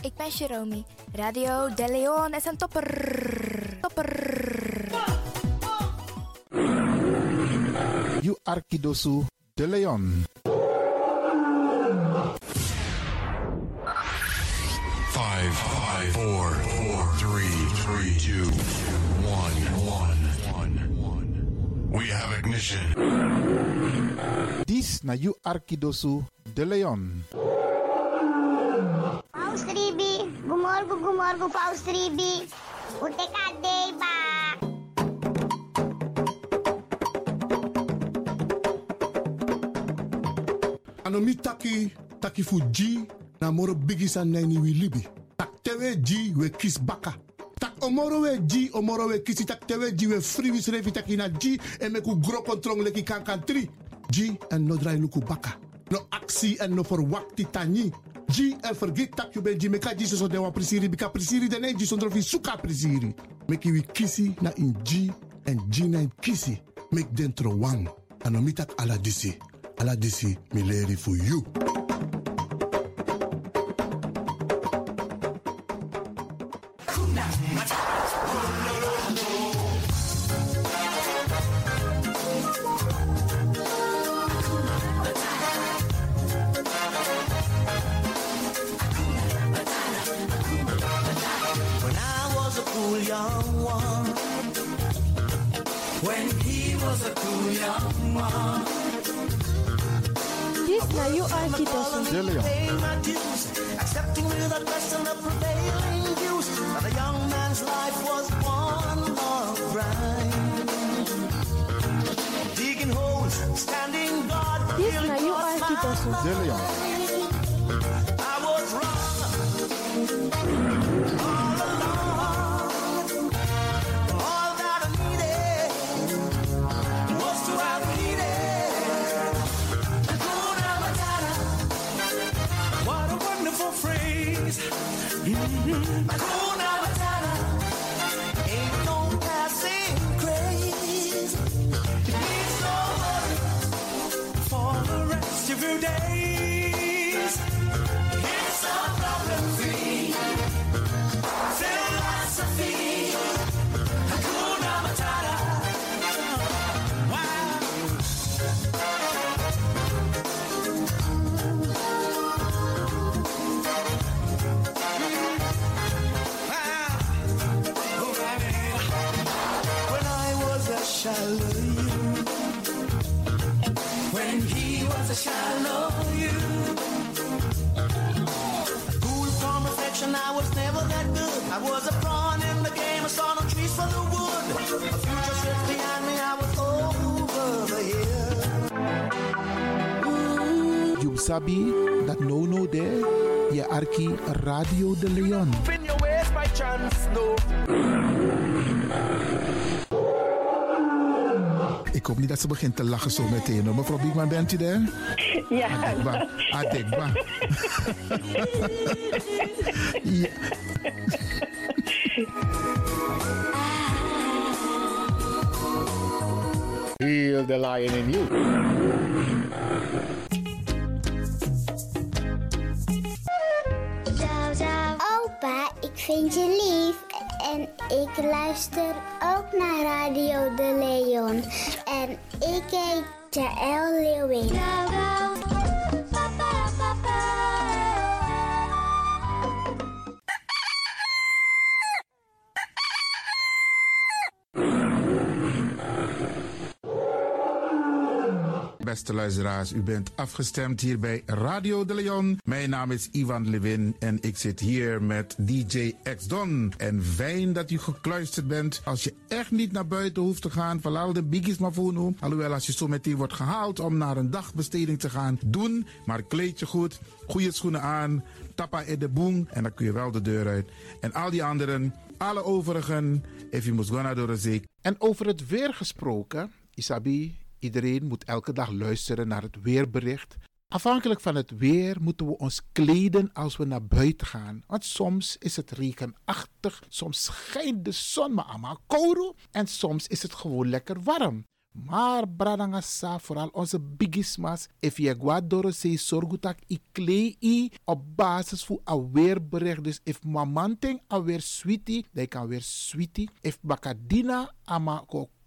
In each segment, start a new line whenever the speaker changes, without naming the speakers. ik ben Jerome. Radio De Leon is een topper. Topper.
You Arkidosu de Leon.
Five, five, four, four, three, three, two, one, one, one. We have ignition.
This na You Arkidosu de Leon.
Paus 3B, goedemorgen, goedemorgen, Paus 3B. Hoe te gaat ba?
Anomi taki, taki fu G, na moro bigis an nini wi libi. Tak tewe G, we kis baka. Tak omoro we G, omoro we kisi, tak tewe G, we free wis revi taki na G, en meku gro kontrong leki kan kan tri. G, en no dry luku baka. No aksi en no for wakti tani. G, en vergeet tak you ben G, meka G so dewa prisiri, bika prisiri dene G, sondro fi suka prisiri. Meki wi kisi na in G, en G na in kisi. Mek dentro wang. Anomi tak ala disi. Ala disi, mi leri fu you.
When I was a cool young one. When he was a cool young one.
This na you Arkidosu.
De Leon.
Paying my dues, accepting with a question the prevailing views. But a young man's life was one long grind. Digging holes, standing guard.
This
feeling
na you
God's
Arkidosu.
De Leon.
I was wrong. All along. All that I needed was to have needed. Hakuna Matata. What a wonderful phrase. Hakuna Matata. Ain't no passing craze. It means no worry for the rest of your days. It's a problem-free philosophy. Hakuna Matata. Wow. Wow. Alright. When I was a Shallow you. When he was a shallow you. Cool from reflection, I was never that good. I was a pawn in the game, I saw no trees for the wood. A future sits behind me, I was over the hill.
You sabi dat no no there. Je Arki Radio de Leon.
In your ways by chance, no.
Ik hoop niet dat ze begint te lachen zo meteen. hoor. Mevrouw Biekman, bent u daar?
Ja,
Adekba. Adekba. ja.
Heel the lion in you.
Zou, zou. Opa, ik vind je lief. En ik luister ook naar Radio De Leon. En ik heet Jaël Leeuwin.
Beste luisteraars, u bent afgestemd hier bij Radio de Leon. Mijn naam is Ivan Levin en ik zit hier met DJ X-Don. En fijn dat u gekluisterd bent. Als je echt niet naar buiten hoeft te gaan, verlaal de biggies maar voor nu. Alhoewel, als je zo meteen wordt gehaald om naar een dagbesteding te gaan, doen. Maar kleed je goed, goede schoenen aan, tappa in de boem en dan kun je wel de deur uit. En al die anderen, alle overigen, if you must go naar door de zee. En over het weer gesproken, Isabi, Iedereen moet elke dag luisteren naar het weerbericht. Afhankelijk van het weer moeten we ons kleden als we naar buiten gaan. Want soms is het regenachtig, soms schijnt de zon maar allemaal kouro en soms is het gewoon lekker warm.
Maar bradangasa, vooral onze bigismas, if je guadoro se sorgutak i klei i op basis voor aweerbericht. Dus if mamanting aweer sweetie, dan kan weer sweetie. If bakadina ama ko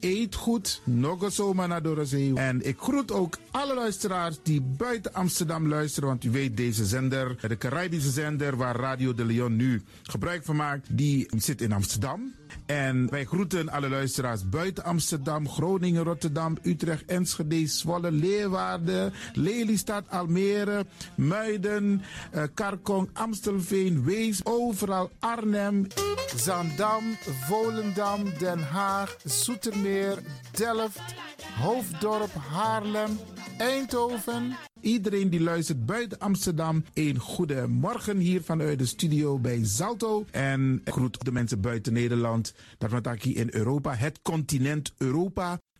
eet goed. Nog eens zomaar naar Dorozee. En ik groet ook alle luisteraars die buiten Amsterdam luisteren. Want u weet, deze zender, de Caribische zender waar Radio de Leon nu gebruik van maakt, die zit in Amsterdam. En wij groeten alle luisteraars buiten Amsterdam, Groningen, Rotterdam, Utrecht, Enschede, Zwolle, Leeuwarden, Lelystad, Almere, Muiden, eh, Karkong, Amstelveen, Wees, overal Arnhem. Zandam, Volendam, Den Haag, Zoetermeer, Delft, Hoofddorp, Haarlem, Eindhoven. Iedereen die luistert buiten Amsterdam, een goede morgen hier vanuit de studio bij Zalto. En ik groet de mensen buiten Nederland, dat we het hier in Europa, het continent Europa.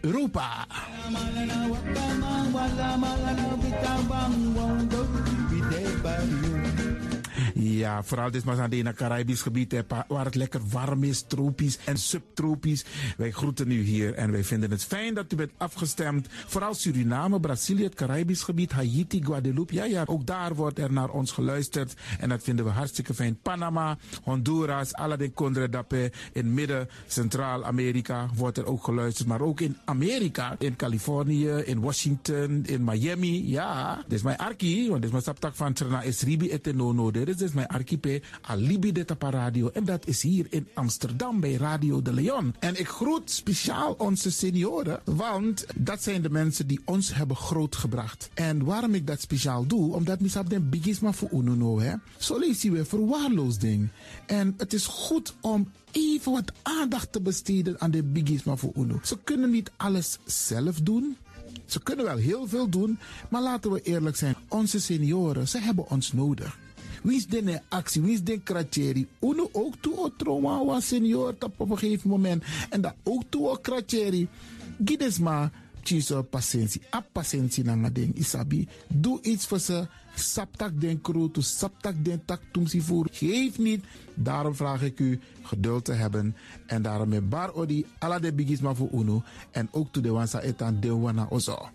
Europa. Ja, vooral dit maar aan het Caribisch gebied, hè, pa- waar het lekker warm is, tropisch en subtropisch. Wij groeten u hier en wij vinden het fijn dat u bent afgestemd. Vooral Suriname, Brazilië, het Caribisch gebied, Haiti, Guadeloupe. Ja, ja, ook daar wordt er naar ons geluisterd en dat vinden we hartstikke fijn. Panama, Honduras, Aladdin Condre Dapé, in midden, Centraal-Amerika wordt er ook geluisterd. Maar ook in Amerika, in Californië, in Washington, in Miami. Ja, dit is mijn arki, want dit is mijn saptak van Trena is Ribi et Nono. Dit is dus mijn archipel Alibi de Tapa Radio. En dat is hier in Amsterdam bij Radio de Leon. En ik groet speciaal onze senioren, want dat zijn de mensen die ons hebben grootgebracht. En waarom ik dat speciaal doe, omdat misap den bigisma voor Ununo, hè. Zo lezen we verwaarloosding. En het is goed om even wat aandacht te besteden aan de bigisma voor Uno. Ze kunnen niet alles zelf doen. Ze kunnen wel heel veel doen, maar laten we eerlijk zijn. Onze senioren, ze hebben ons nodig. Wie den de actie, wie is de kratjeri? Uno ook toe o trauma was senior tap op een gegeven moment. En dat ook toe o kratjeri. Gides maar, tjiso patiëntie. A patiëntie na nga ding, isabi. Doe iets voor ze. Saptak den kroto, saptak den tak tumsi voer. Geef niet. Daarom vraag ik u geduld te hebben. En daarom met bar odi, ala de bigisma voor uno. En ook toe de wansa etan de wana ozo.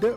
De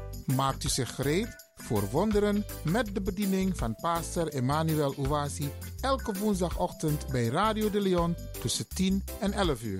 Maakt u zich gereed voor wonderen met de bediening van pastor Emmanuel Owasi elke woensdagochtend bij Radio de Leon tussen 10 en 11 uur.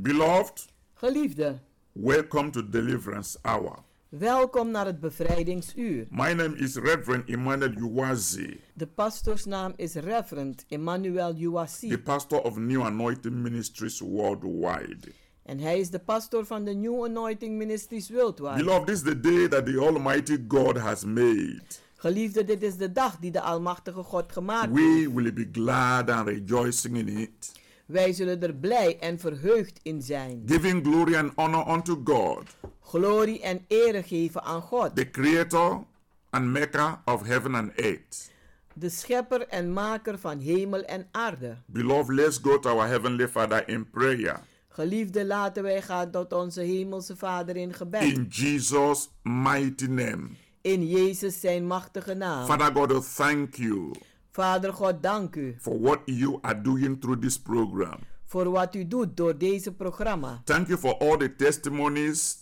Beloved,
Geliefde,
welcome to Deliverance Hour.
welkom naar het bevrijdingsuur.
My name is Reverend Emmanuel Uwazi,
De pastorsnaam is Reverend Emmanuel
the
Uwasi
pastor of New Anointing Ministries worldwide.
en hij is de pastor van de New Anointing Ministries Worldwide.
Beloved, this is the day that the Almighty God has made.
Geliefde, dit is de dag die de Almachtige God gemaakt heeft.
We will be glad and rejoicing in it,
Wij zullen er blij en verheugd in zijn.
giving glory and honor unto God,
Glorie en ere geven aan God,
the Creator and Maker of heaven and earth.
de schepper en maker van hemel en aarde.
Beloved, let's go to our Heavenly Father in prayer.
Geliefde, laten wij gaan tot onze hemelse Vader in gebed.
In Jesus' mighty name.
In Jezus zijn machtige naam.
Father God, I thank you
Vader God, dank u.
for what you are doing through this program.
voor wat u doet door deze programma.
Thank you for all the testimonies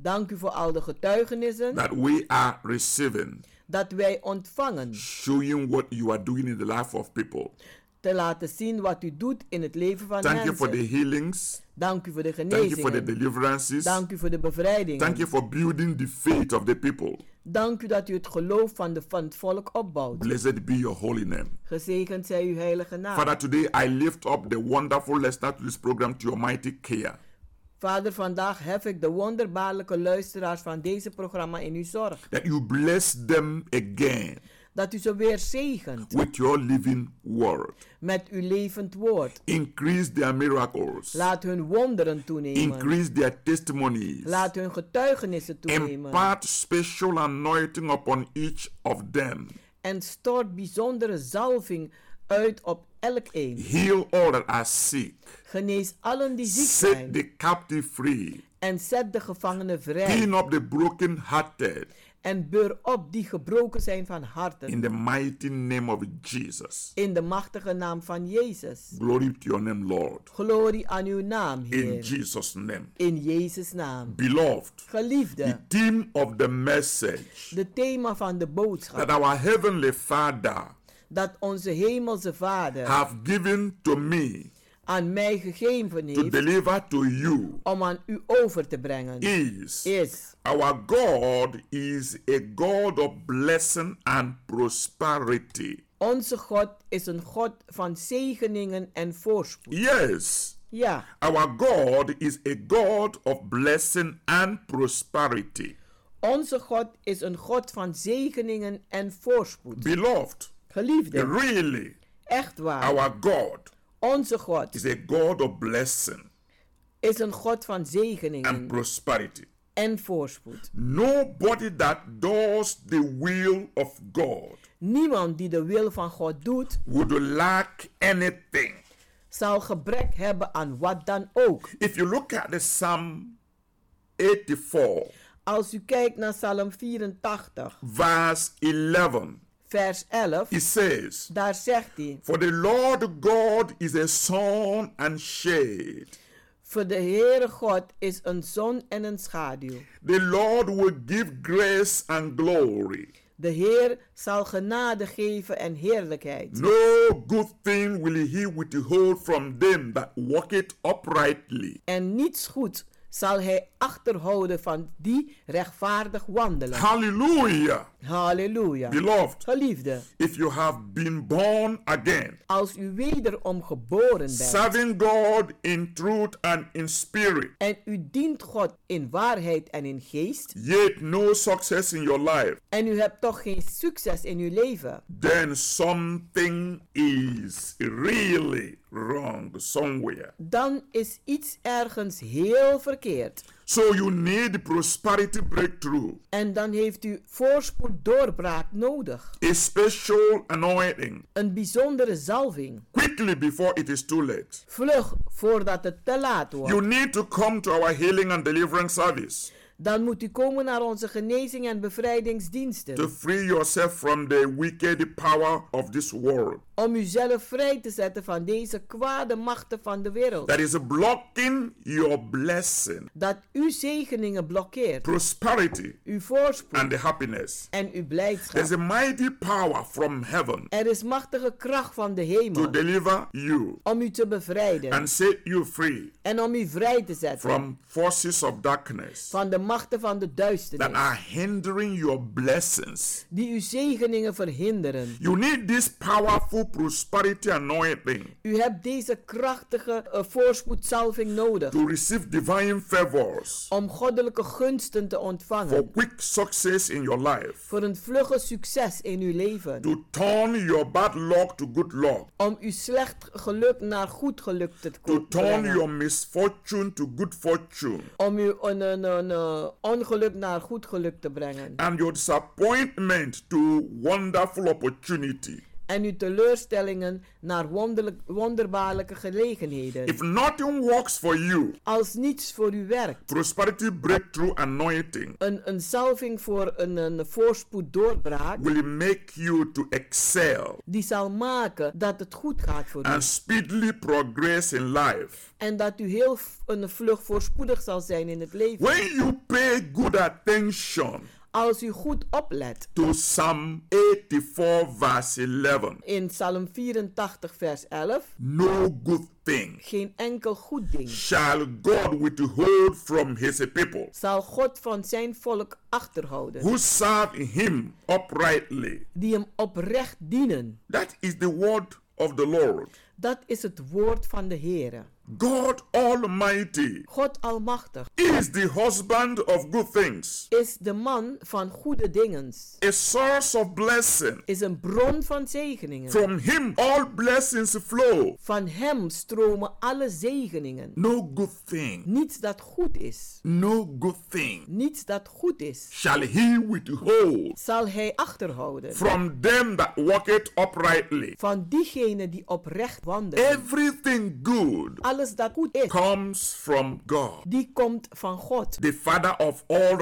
Dank u voor al de getuigenissen
that we are receiving,
dat wij ontvangen.
showing what you are doing in the life of people.
Te laten zien wat u doet in het leven van
Thank you
mensen.
for the healings.
Dank u voor de
Thank you for the
genezingen.
deliverances.
Dank u voor de bevrijding.
Thank you for building the faith of the people.
Dank u dat u het geloof van, de, van het volk opbouwt.
Blessed be your holy name.
Gezegend zij uw heilige naam.
Father, today I lift up the wonderful listener to this program to your mighty care.
Vader, vandaag hef ik de wonderbaarlijke luisteraars van deze programma in uw zorg.
That you bless them again
Dat u ze weer zegent
with your living word.
met uw levend woord.
Increase their miracles.
Laat hun wonderen toenemen.
Increase their testimonies.
Laat hun getuigenissen toenemen.
Impart special anointing upon each of them.
en stort bijzondere zalving uit op elk een.
Heal all that are sick.
Genees allen die ziek
Set the
zijn
captive free.
en zet de gevangenen vrij
Pin up the broken-hearted.
en beur op die gebroken zijn van harten
In the mighty name of Jesus.
in de machtige naam van Jezus.
Glory to your name, Lord.
Glorie aan uw naam,
In
Heer,
Jesus' name.
in Jezus' naam.
Beloved, the
Geliefde,
theme of the message
de thema van de
that
boodschap
our Heavenly Father
dat onze hemelse Vader
have given to me
aan mij gegeven
to
heeft
deliver to you
om aan u over te brengen,
is
is
Our God is a God of blessing and prosperity.
Onze God is een God van zegeningen en voorspoed.
Yes,
Ja,
our God is a God of blessing and prosperity.
onze God is een God van zegeningen en voorspoed.
Beloved,
Geliefde,
really,
echt waar.
our God
Onze God
is a God of blessing
is een God van
and
zegeningen
prosperity.
en voorspoed.
Nobody that does the will of God
Niemand die de wil van God doet,
would lack anything.
zal gebrek hebben aan wat dan ook.
If you look at the Psalm 84,
Als u kijkt naar Psalm 84,
verse 11,
vers 11,
it says,
daar zegt hij:
For the Lord God is a sun and shade.
Voor de Heere God is een zon en een schaduw.
The Lord will give grace and glory.
De Heer zal genade geven en heerlijkheid.
No good thing will he withhold from them that walk it uprightly.
En niets goed zal hij achterhouden van die rechtvaardig wandelen.
Hallelujah.
Halleluja.
Beloved,
Geliefde,
if you have been born again,
als u wederom geboren bent
serving God in truth and in spirit,
en u dient God in waarheid en in geest,
yet no success in your life,
en u hebt toch geen succes in uw leven,
then something is really
wrong somewhere.
dan is iets ergens heel verkeerd.
So you need prosperity breakthrough,
En dan heeft u voorspoed doorbraak nodig.
a special anointing,
Een bijzondere zalving.
quickly before it is too late.
Vlug voordat het te laat wordt.
You need to come to our healing and deliverance service
Dan moet u komen naar onze genezing en
to
bevrijdingsdiensten.
free yourself from the wicked power of this world
Om uzelf vrij te zetten van deze kwade machten van de wereld.
that is blocking your blessing,
Dat uw zegeningen blokkeert.
prosperity,
Uw voorspoed
and happiness.
en uw
There's a
blijdschap.
mighty power from heaven
Er is machtige kracht van de
to
hemel.
deliver you
Om u te bevrijden.
and set you free
En om u vrij te zetten.
from forces of darkness
Van de machten van de
that are
duisternis.
hindering your blessings.
Die uw zegeningen verhinderen.
You need this powerful prosperity anointing
U hebt deze krachtige eh, voorspoedzalving nodig
to receive divine favors
om goddelijke gunsten te
for
ontvangen.
quick success in your life,
Voor een vlugge succes in uw leven.
to turn your bad luck to good luck,
Om uw slecht geluk naar goed geluk te ko-
to turn
brengen.
your misfortune to good fortune,
Om uw on- on- on- eh, ongeluk naar goed geluk te brengen.
and your disappointment to wonderful opportunity.
En uw teleurstellingen naar wonderlijk, wonderbaarlijke gelegenheden.
If nothing works for you,
Als niets voor u werkt.
prosperity breakthrough anointing
Een, een salving voor een, een voorspoed doorbraak.
will make you to excel
Die zal maken dat het goed gaat voor u.
and speedily progress in life.
En dat u heel v- een vlug voorspoedig zal zijn in het leven.
When you pay good attention
Als u goed oplet
to Psalm 84, verse 11,
in Psalm 84, vers 11.
no good thing
Geen enkel goed ding
shall God withhold from his people
zal God van zijn volk achterhouden.
who serve him uprightly.
Die hem oprecht dienen.
That is the word of the Lord.
Dat is het woord van de Heere.
God Almighty
God Almachtig
is the husband of good things,
is de man van goede dingen.
a source of blessing.
Is een bron van zegeningen.
From him all blessings flow.
Van hem stromen alle zegeningen.
No good thing,
Niets dat goed is.
no good thing
Niets dat goed is.
shall he withhold
Zal hij achterhouden.
from them that walk it uprightly.
van diegenen die oprecht wandelen.
Everything good
Alles dat goed is,
comes from God,
die komt van God,
the Father of all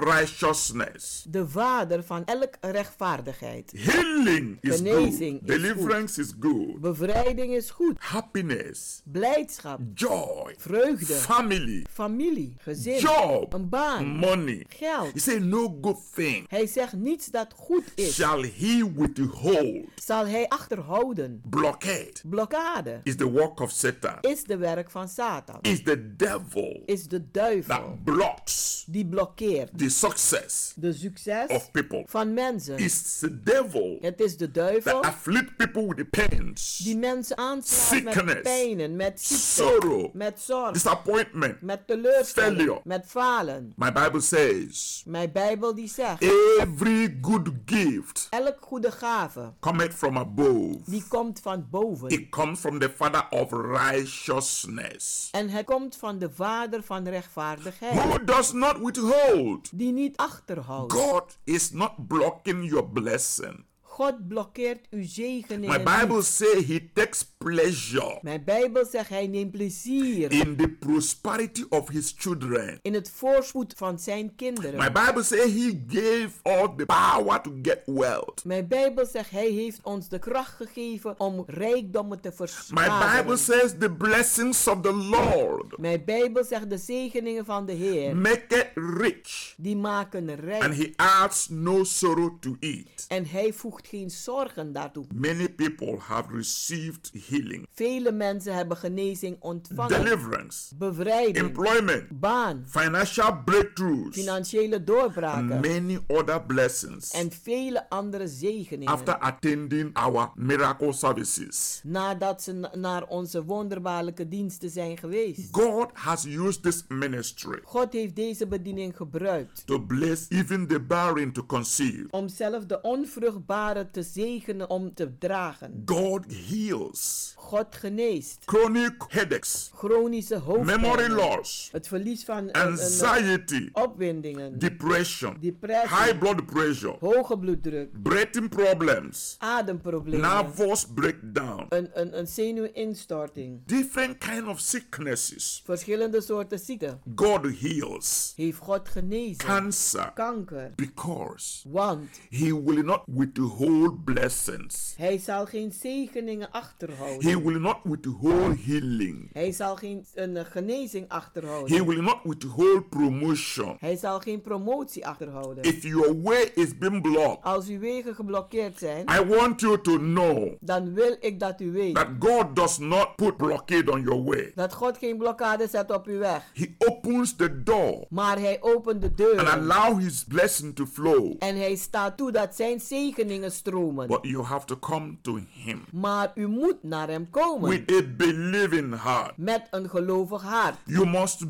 righteousness.
de vader van elke rechtvaardigheid.
Healing is
Genezing
good,
is
deliverance is good,
Bevrijding is goed,
happiness,
blijdschap,
joy,
vreugde,
family,
familie, gezin, een
job,
baan,
money.
geld.
He said, No good thing
Hij zegt niets dat goed is,
shall he withhold.
zal hij achterhouden.
Blockade
Blokkade
is the work of Satan.
is de werk van Satan,
is the devil
is de duivel
that blocks
die blokkeert
the success
de
of
succes
people.
van mensen.
It's the devil
Het is de
that
duivel
afflict people with the pains,
die mensen aanslaat met
Sickness.
pijnen, met ziekte,
sorrow,
met zorg,
disappointment.
met teleurstelling,
Failure.
met falen.
My Bible says,
Mijn Bijbel die zegt,
every good gift
elk goede gave,
cometh from above.
die komt van boven.
It comes from the Father of righteousness,
En het komt van de Vader van rechtvaardigheid,
who does not withhold.
die niet achterhoudt.
God is not blocking your blessing.
God blokkeert uw
My
zegeningen
Bible
niet.
says he takes pleasure
Mijn Bijbel zegt, hij neemt plezier
in the prosperity of his children.
in het voorspoed van zijn
My
kinderen.
Bible says he gave all the power to get wealth.
Mijn Bijbel zegt, hij heeft ons de kracht gegeven om rijkdommen te
My Bible
verzamelen.
says the blessings of the Lord
Mijn Bijbel zegt de zegeningen van de Heer,
make it rich,
die maken rijk.
and he adds no sorrow to it.
En hij voegt geen zorgen daartoe.
Many people have received healing,
Vele mensen hebben genezing ontvangen,
deliverance,
bevrijding,
employment,
baan,
financial breakthroughs,
financiële
and
doorbraken
many other blessings
en vele andere
after
zegeningen.
attending our miracle services.
Nadat ze na- naar onze wonderbaarlijke diensten zijn geweest.
God has used this ministry
God heeft deze bediening gebruikt
to bless even the barren to conceive,
om zelf de onvruchtbare anderen te zegenen om te dragen.
God heals.
God geneest.
Chronic headaches.
Chronische hoofdpijn.
Memory loss.
Het verlies van eh,
Anxiety.
eh, opwindingen.
Depression.
Depressie.
High blood pressure.
Hoge bloeddruk.
Breathing problems.
Ademproblemen.
Nervous breakdown.
een, een, een zenuwinstorting.
Different kind of sicknesses.
Verschillende soorten ziekten.
God heals.
Heeft God genezen.
Cancer.
Kanker.
Because
Want
he will not withhold blessings.
hij zal geen zegeningen achterhouden.
He will not withhold healing.
Hij zal geen een, eh, genezing achterhouden.
He will not withhold promotion.
Hij zal geen promotie achterhouden.
If your way is being blocked,
Als uw wegen geblokkeerd zijn,
I want you to know
dan wil ik dat u weet
that God does not put blockade on your way.
dat God geen blokkade zet op uw weg.
He opens the door
Maar hij opent de
and
deur
allow his blessing to flow.
en hij staat toe dat zijn zegeningen stromen.
But you have to come to him
Maar u moet naar hem komen
with a believing heart.
met een gelovig hart.
You must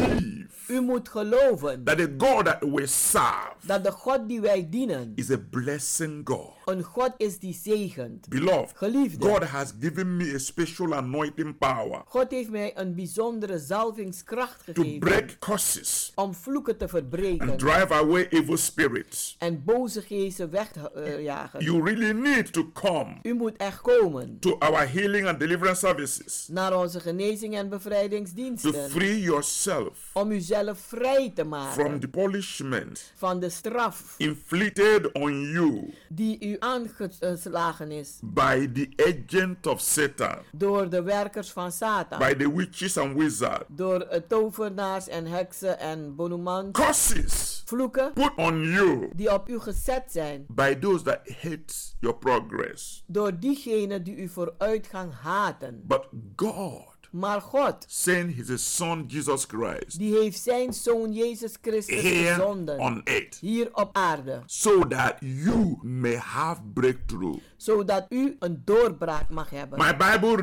believe
U moet geloven
that the God that we serve
dat de God die wij dienen
is a blessing God.
een God is die zegent.
Beloved,
Geliefde.
God has given me a special anointing power
God heeft mij een bijzondere zalvingskracht
to
gegeven
break curses
om vloeken te
and
verbreken
drive away evil spirits.
en boze geesten weg te eh, jagen.
You really need to come
U moet echt komen
to our healing and deliverance services
naar onze genezing en
to
bevrijdingsdiensten
free yourself
om uzelf vrij te
from
maken
the punishment
van de straf
inflicted on you
die u aangeslagen is
by the agent of Satan,
door de werkers van
by
Satan,
the witches and wizards.
door eh, tovenaars en heksen en bonumans,
Curses
vloeken
put on you
die op u gezet zijn
by those that hate your progress.
door diegenen die u vooruitgang haten.
But God
Maar God,
sent his son Jesus Christ
die heeft zijn zoon Jezus Christus
here
gezonden,
on earth
hier op aarde,
so that you may have breakthrough.
zodat u een doorbraak mag hebben.
My Bible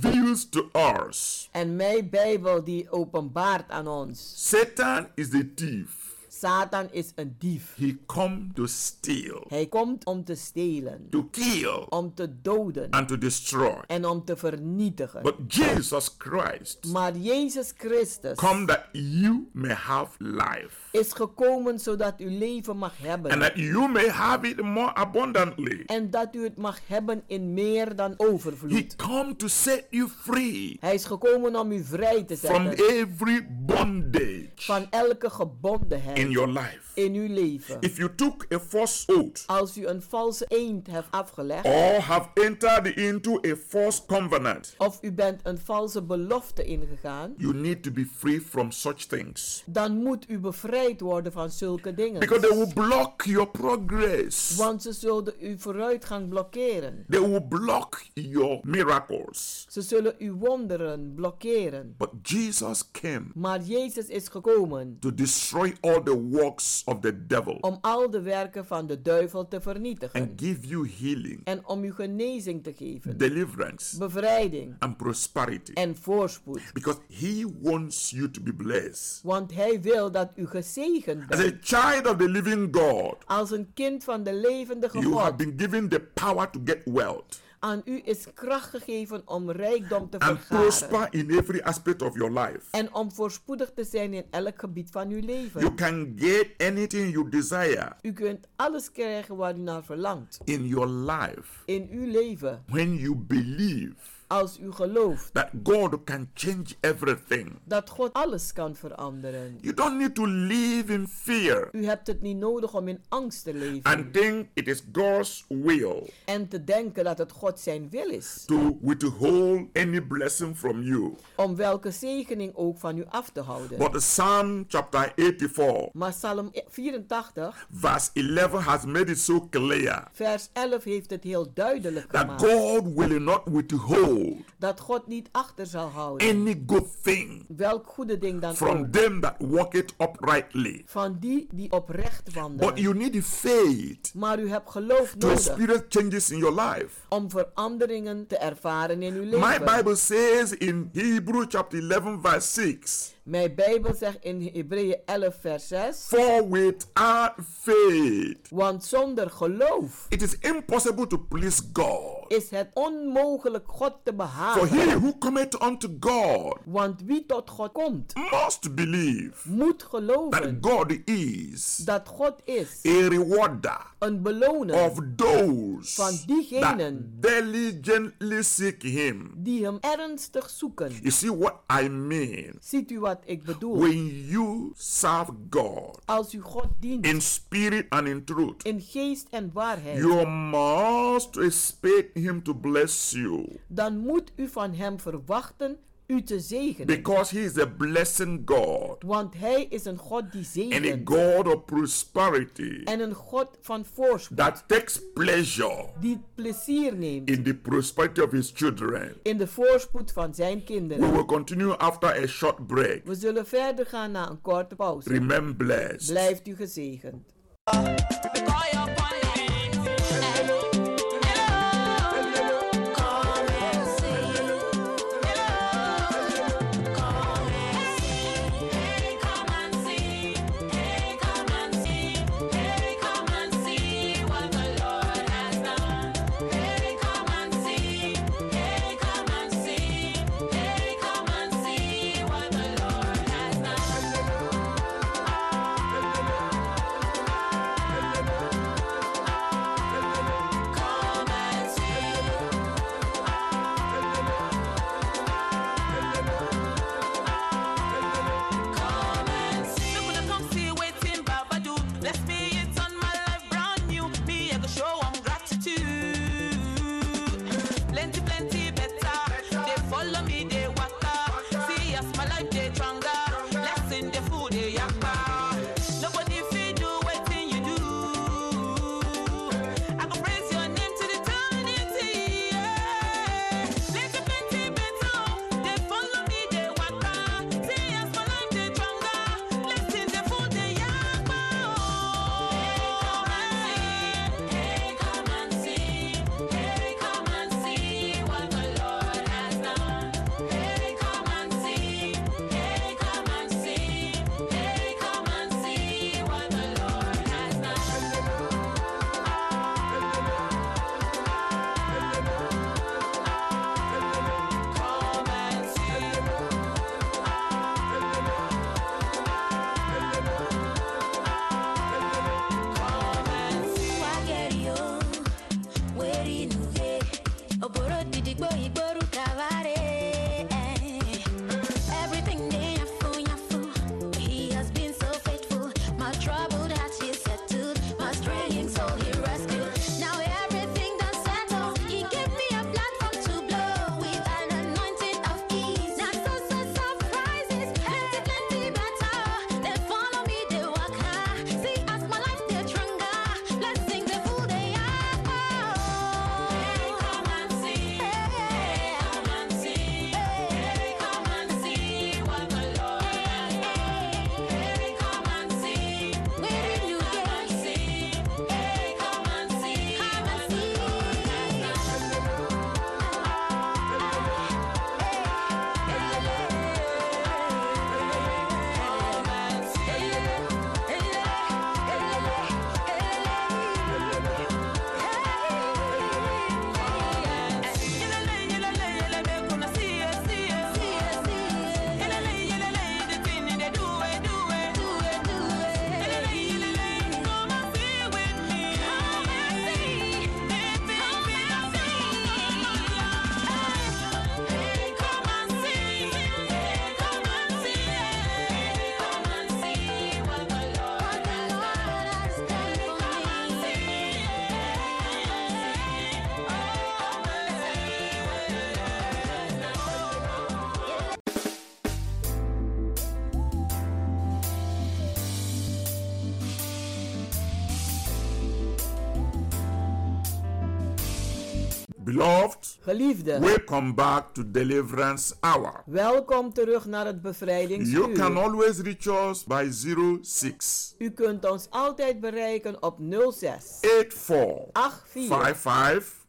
reveals to us
En mijn Bijbel die openbaart aan ons.
Satan is the thief.
Satan is een dief.
He come to steal,
Hij komt om te stelen,
to kill,
om te doden
and to destroy.
en om te vernietigen.
But Jesus Christ
Maar Jezus Christus
come that you may have life
is gekomen zodat u leven mag
and
hebben.
that you may have it more abundantly.
En dat u het mag hebben in meer dan
He
overvloed.
come to set you free
Hij is gekomen om u vrij te
from
zetten
every bondage
van elke
in
gebondenheid
your life.
in uw leven.
If you took a false oath
Als u een valse eend hebt afgelegd
or have entered into a false covenant,
of u bent een valse belofte ingegaan,
you need to be free from such things
dan moet u bevrijd worden van zulke dingen.
because they will block your progress.
Want ze zullen uw vooruitgang blokkeren.
They will block your miracles.
Ze zullen uw wonderen blokkeren.
But Jesus came
Maar Jezus is gekomen
to destroy all the works of the devil
om al de werken van de duivel te
and
vernietigen.
give you healing,
En om u genezing te geven,
deliverance,
bevrijding
and prosperity.
en voorspoed.
Because he wants you to be blessed.
Want hij wil dat u gezegend
As a
bent.
child of the living God,
Als een kind van de levendige
you have
God.
been given the power to get wealth
Aan u is kracht gegeven om rijkdom te
and
vergaren.
prosper in every aspect of your life.
En om voorspoedig te zijn in elk gebied van uw
You
leven.
can get anything you desire
U kunt alles krijgen waar u naar verlangt.
in your life
In uw leven.
when you believe
Als u gelooft
that God can change everything.
dat God alles kan veranderen.
You don't need to live in fear
U hebt het niet nodig om in angst te leven.
and think it is God's will
En te denken dat het God zijn wil is.
to withhold any blessing from you.
Om welke zegening ook van u af te houden.
But Psalm chapter 84,
Maar Psalm 84,
verse 11 has made it so clear
vers 11 heeft het heel duidelijk
that
gemaakt.
God will not hold
dat God niet achter zal houden.
any good thing
welk goede ding dan
from
ook.
them that walk it uprightly.
Van die die oprecht wandelen.
But you need the faith
maar u hebt geloof
to
nodig
experience changes in your life.
om veranderingen te ervaren in uw leven.
My Bible says in Hebrew chapter 11, verse 6
Mijn Bijbel zegt in Hebreeën 11 vers 6.
For without faith,
Want zonder geloof
it is impossible to please God.
is het onmogelijk God te
For he
behagen.
who cometh unto God
Want wie tot God komt,
must believe
moet geloven
that God is
dat God is
a rewarder
een beloner
of those
van diegenen
that diligently seek him.
die hem ernstig zoeken.
You see what I mean?
Ziet u wat ik bedoel?
When you serve God
Als u God dient
in spirit and in truth,
in geest en waarheid,
you must expect him to bless you
dan moet u van hem verwachten u te zegenen.
because he is a blessing God
Want hij is een God die
and a
zegent
God of prosperity
en een God van voorspoed
that takes pleasure
die plezier neemt
in the prosperity of his children.
in de voorspoed van zijn
We
kinderen.
will continue after a short break.
We zullen verder gaan na een korte pauze.
Remain blessed.
Blijft u gezegend.
Thank you
Beloved,
Geliefde,
welcome back to Deliverance Hour.
welkom terug naar het bevrijdingsuur.
You can always reach us by 06
U kunt ons altijd bereiken op 06
84
84
55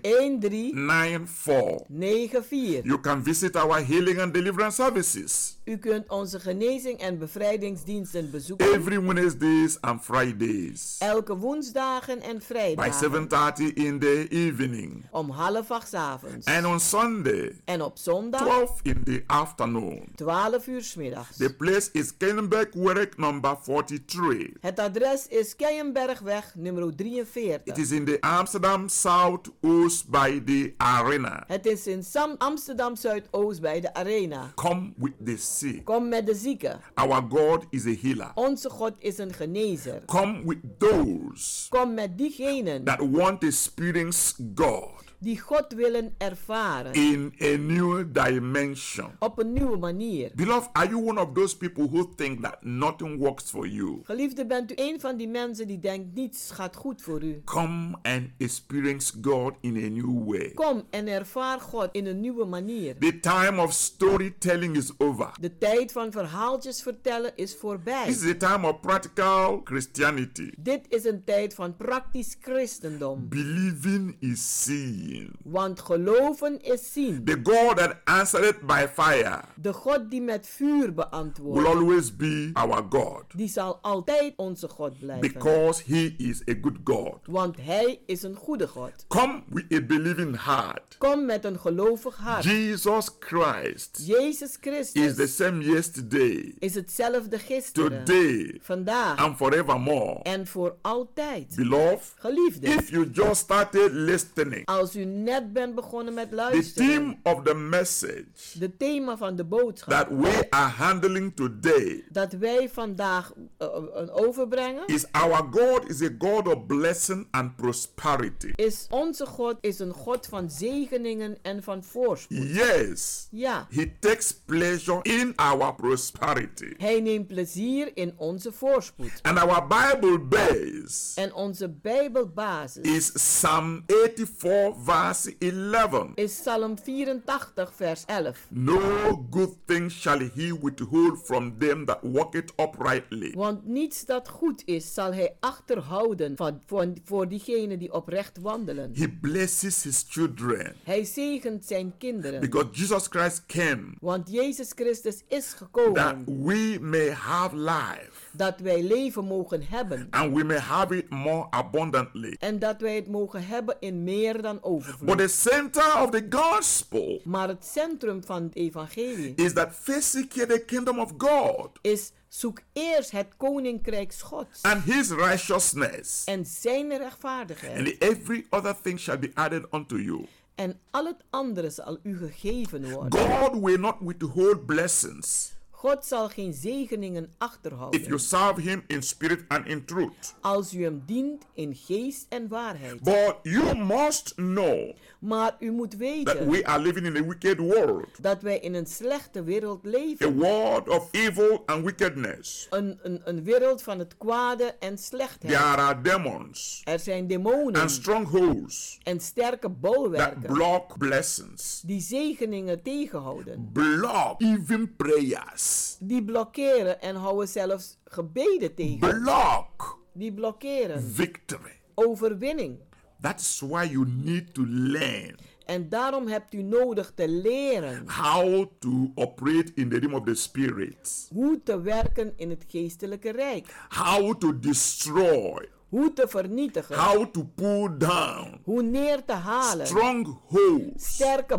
13
13
94.
94.
You can visit our healing and deliverance services
U kunt onze genezing en bevrijdingsdiensten bezoeken
every Wednesdays and Fridays
elke woensdagen en
by
vrijdagen
7:30 in the evening
om half acht 's avonds
and on Sunday
en op zondag
12 in the afternoon.
12 uur 's middags.
The place is Kenenberg Werk number 43.
Het adres is Keienbergweg nummer
It
43.
is in the Amsterdam South Oost by the arena.
Het is in Sam Amsterdam Zuidoost bij de Arena.
Come with the sick.
Kom met de zieken.
Our God is a healer.
Onze God is een genezer.
Come with those
Kom met diegenen
that want to experience God
die God willen ervaren
in a new dimension.
op een nieuwe manier.
Beloved, are you one of those people who think that nothing works for you?
Geliefde, bent u een van die mensen die denkt niets gaat goed voor u.
Come and experience God in a new way.
Kom en ervaar God in een nieuwe manier.
The time of storytelling is over.
De tijd van verhaaltjes vertellen is voorbij.
This is a time of practical Christianity.
Dit is een tijd van praktisch christendom.
Believing is seeing.
Want geloven is zien.
The God that answered by fire
De God die met vuur
will
beantwoordt,
always be our God
die zal altijd onze God blijven.
because He is a good God.
Want Hij is een goede God.
Come with a believing heart.
Kom met een gelovig hart.
Jesus Christ
Jezus
is the
Christus
same yesterday,
is hetzelfde gisteren,
today,
vandaag
and forevermore.
en voor altijd.
Beloved,
Geliefde,
if you just started listening,
als u net bent begonnen met
the
luisteren,
theme of the message
de thema van de
that
boodschap
we are handling today
dat wij vandaag eh, eh, overbrengen,
is our God is a God of blessing and prosperity.
is onze God is een God van zegeningen en van voorspoed.
Yes,
Ja,
He takes pleasure in our prosperity.
Hij neemt plezier in onze voorspoed.
And our Bible base
En onze Bijbelbasis
is Psalm 84, verse 11.
is Psalm 84, vers 11.
No good thing shall he withhold from them that walk it uprightly.
Want niets dat goed is, zal hij achterhouden van, voor, voor diegenen die oprecht wandelen.
He blesses his children
Hij zegent zijn kinderen.
because Jesus Christ came
Want Jezus Christus is
that
gekomen
we may have life
dat wij leven mogen hebben.
and we may have it more abundantly.
En dat wij het mogen hebben in meer dan
But
overvloed.
the center of the gospel
Maar het centrum van het evangelie
is that first seek ye the kingdom of God
is zoek eerst het koninkrijk Gods
and his righteousness,
en zijn rechtvaardigheid.
and every other thing shall be added unto you.
En al het andere zal u gegeven worden.
God will not withhold blessings
God zal geen zegeningen
if you
achterhouden
serve him in spirit and in truth.
als u hem dient in geest en waarheid.
But you must know
Maar u moet
that
weten
we are living in a wicked world,
dat wij in een slechte wereld
a
leven.
world of evil and wickedness.
Een, een, een wereld van het kwade en
There
slechtheid.
are demons
Er zijn demonen
and strongholds
en sterke
that
bolwerken
block blessings,
die zegeningen tegenhouden.
block even prayers,
Die blokkeren en houden zelfs gebeden tegen.
block
Die blokkeren
victory.
overwinning.
That's why you need to learn
En daarom hebt u nodig te leren
how to operate in the realm of the spirit,
hoe te werken in het geestelijke rijk.
how to destroy,
Hoe te vernietigen.
how to pull down
Hoe neer te halen.
strongholds
Sterke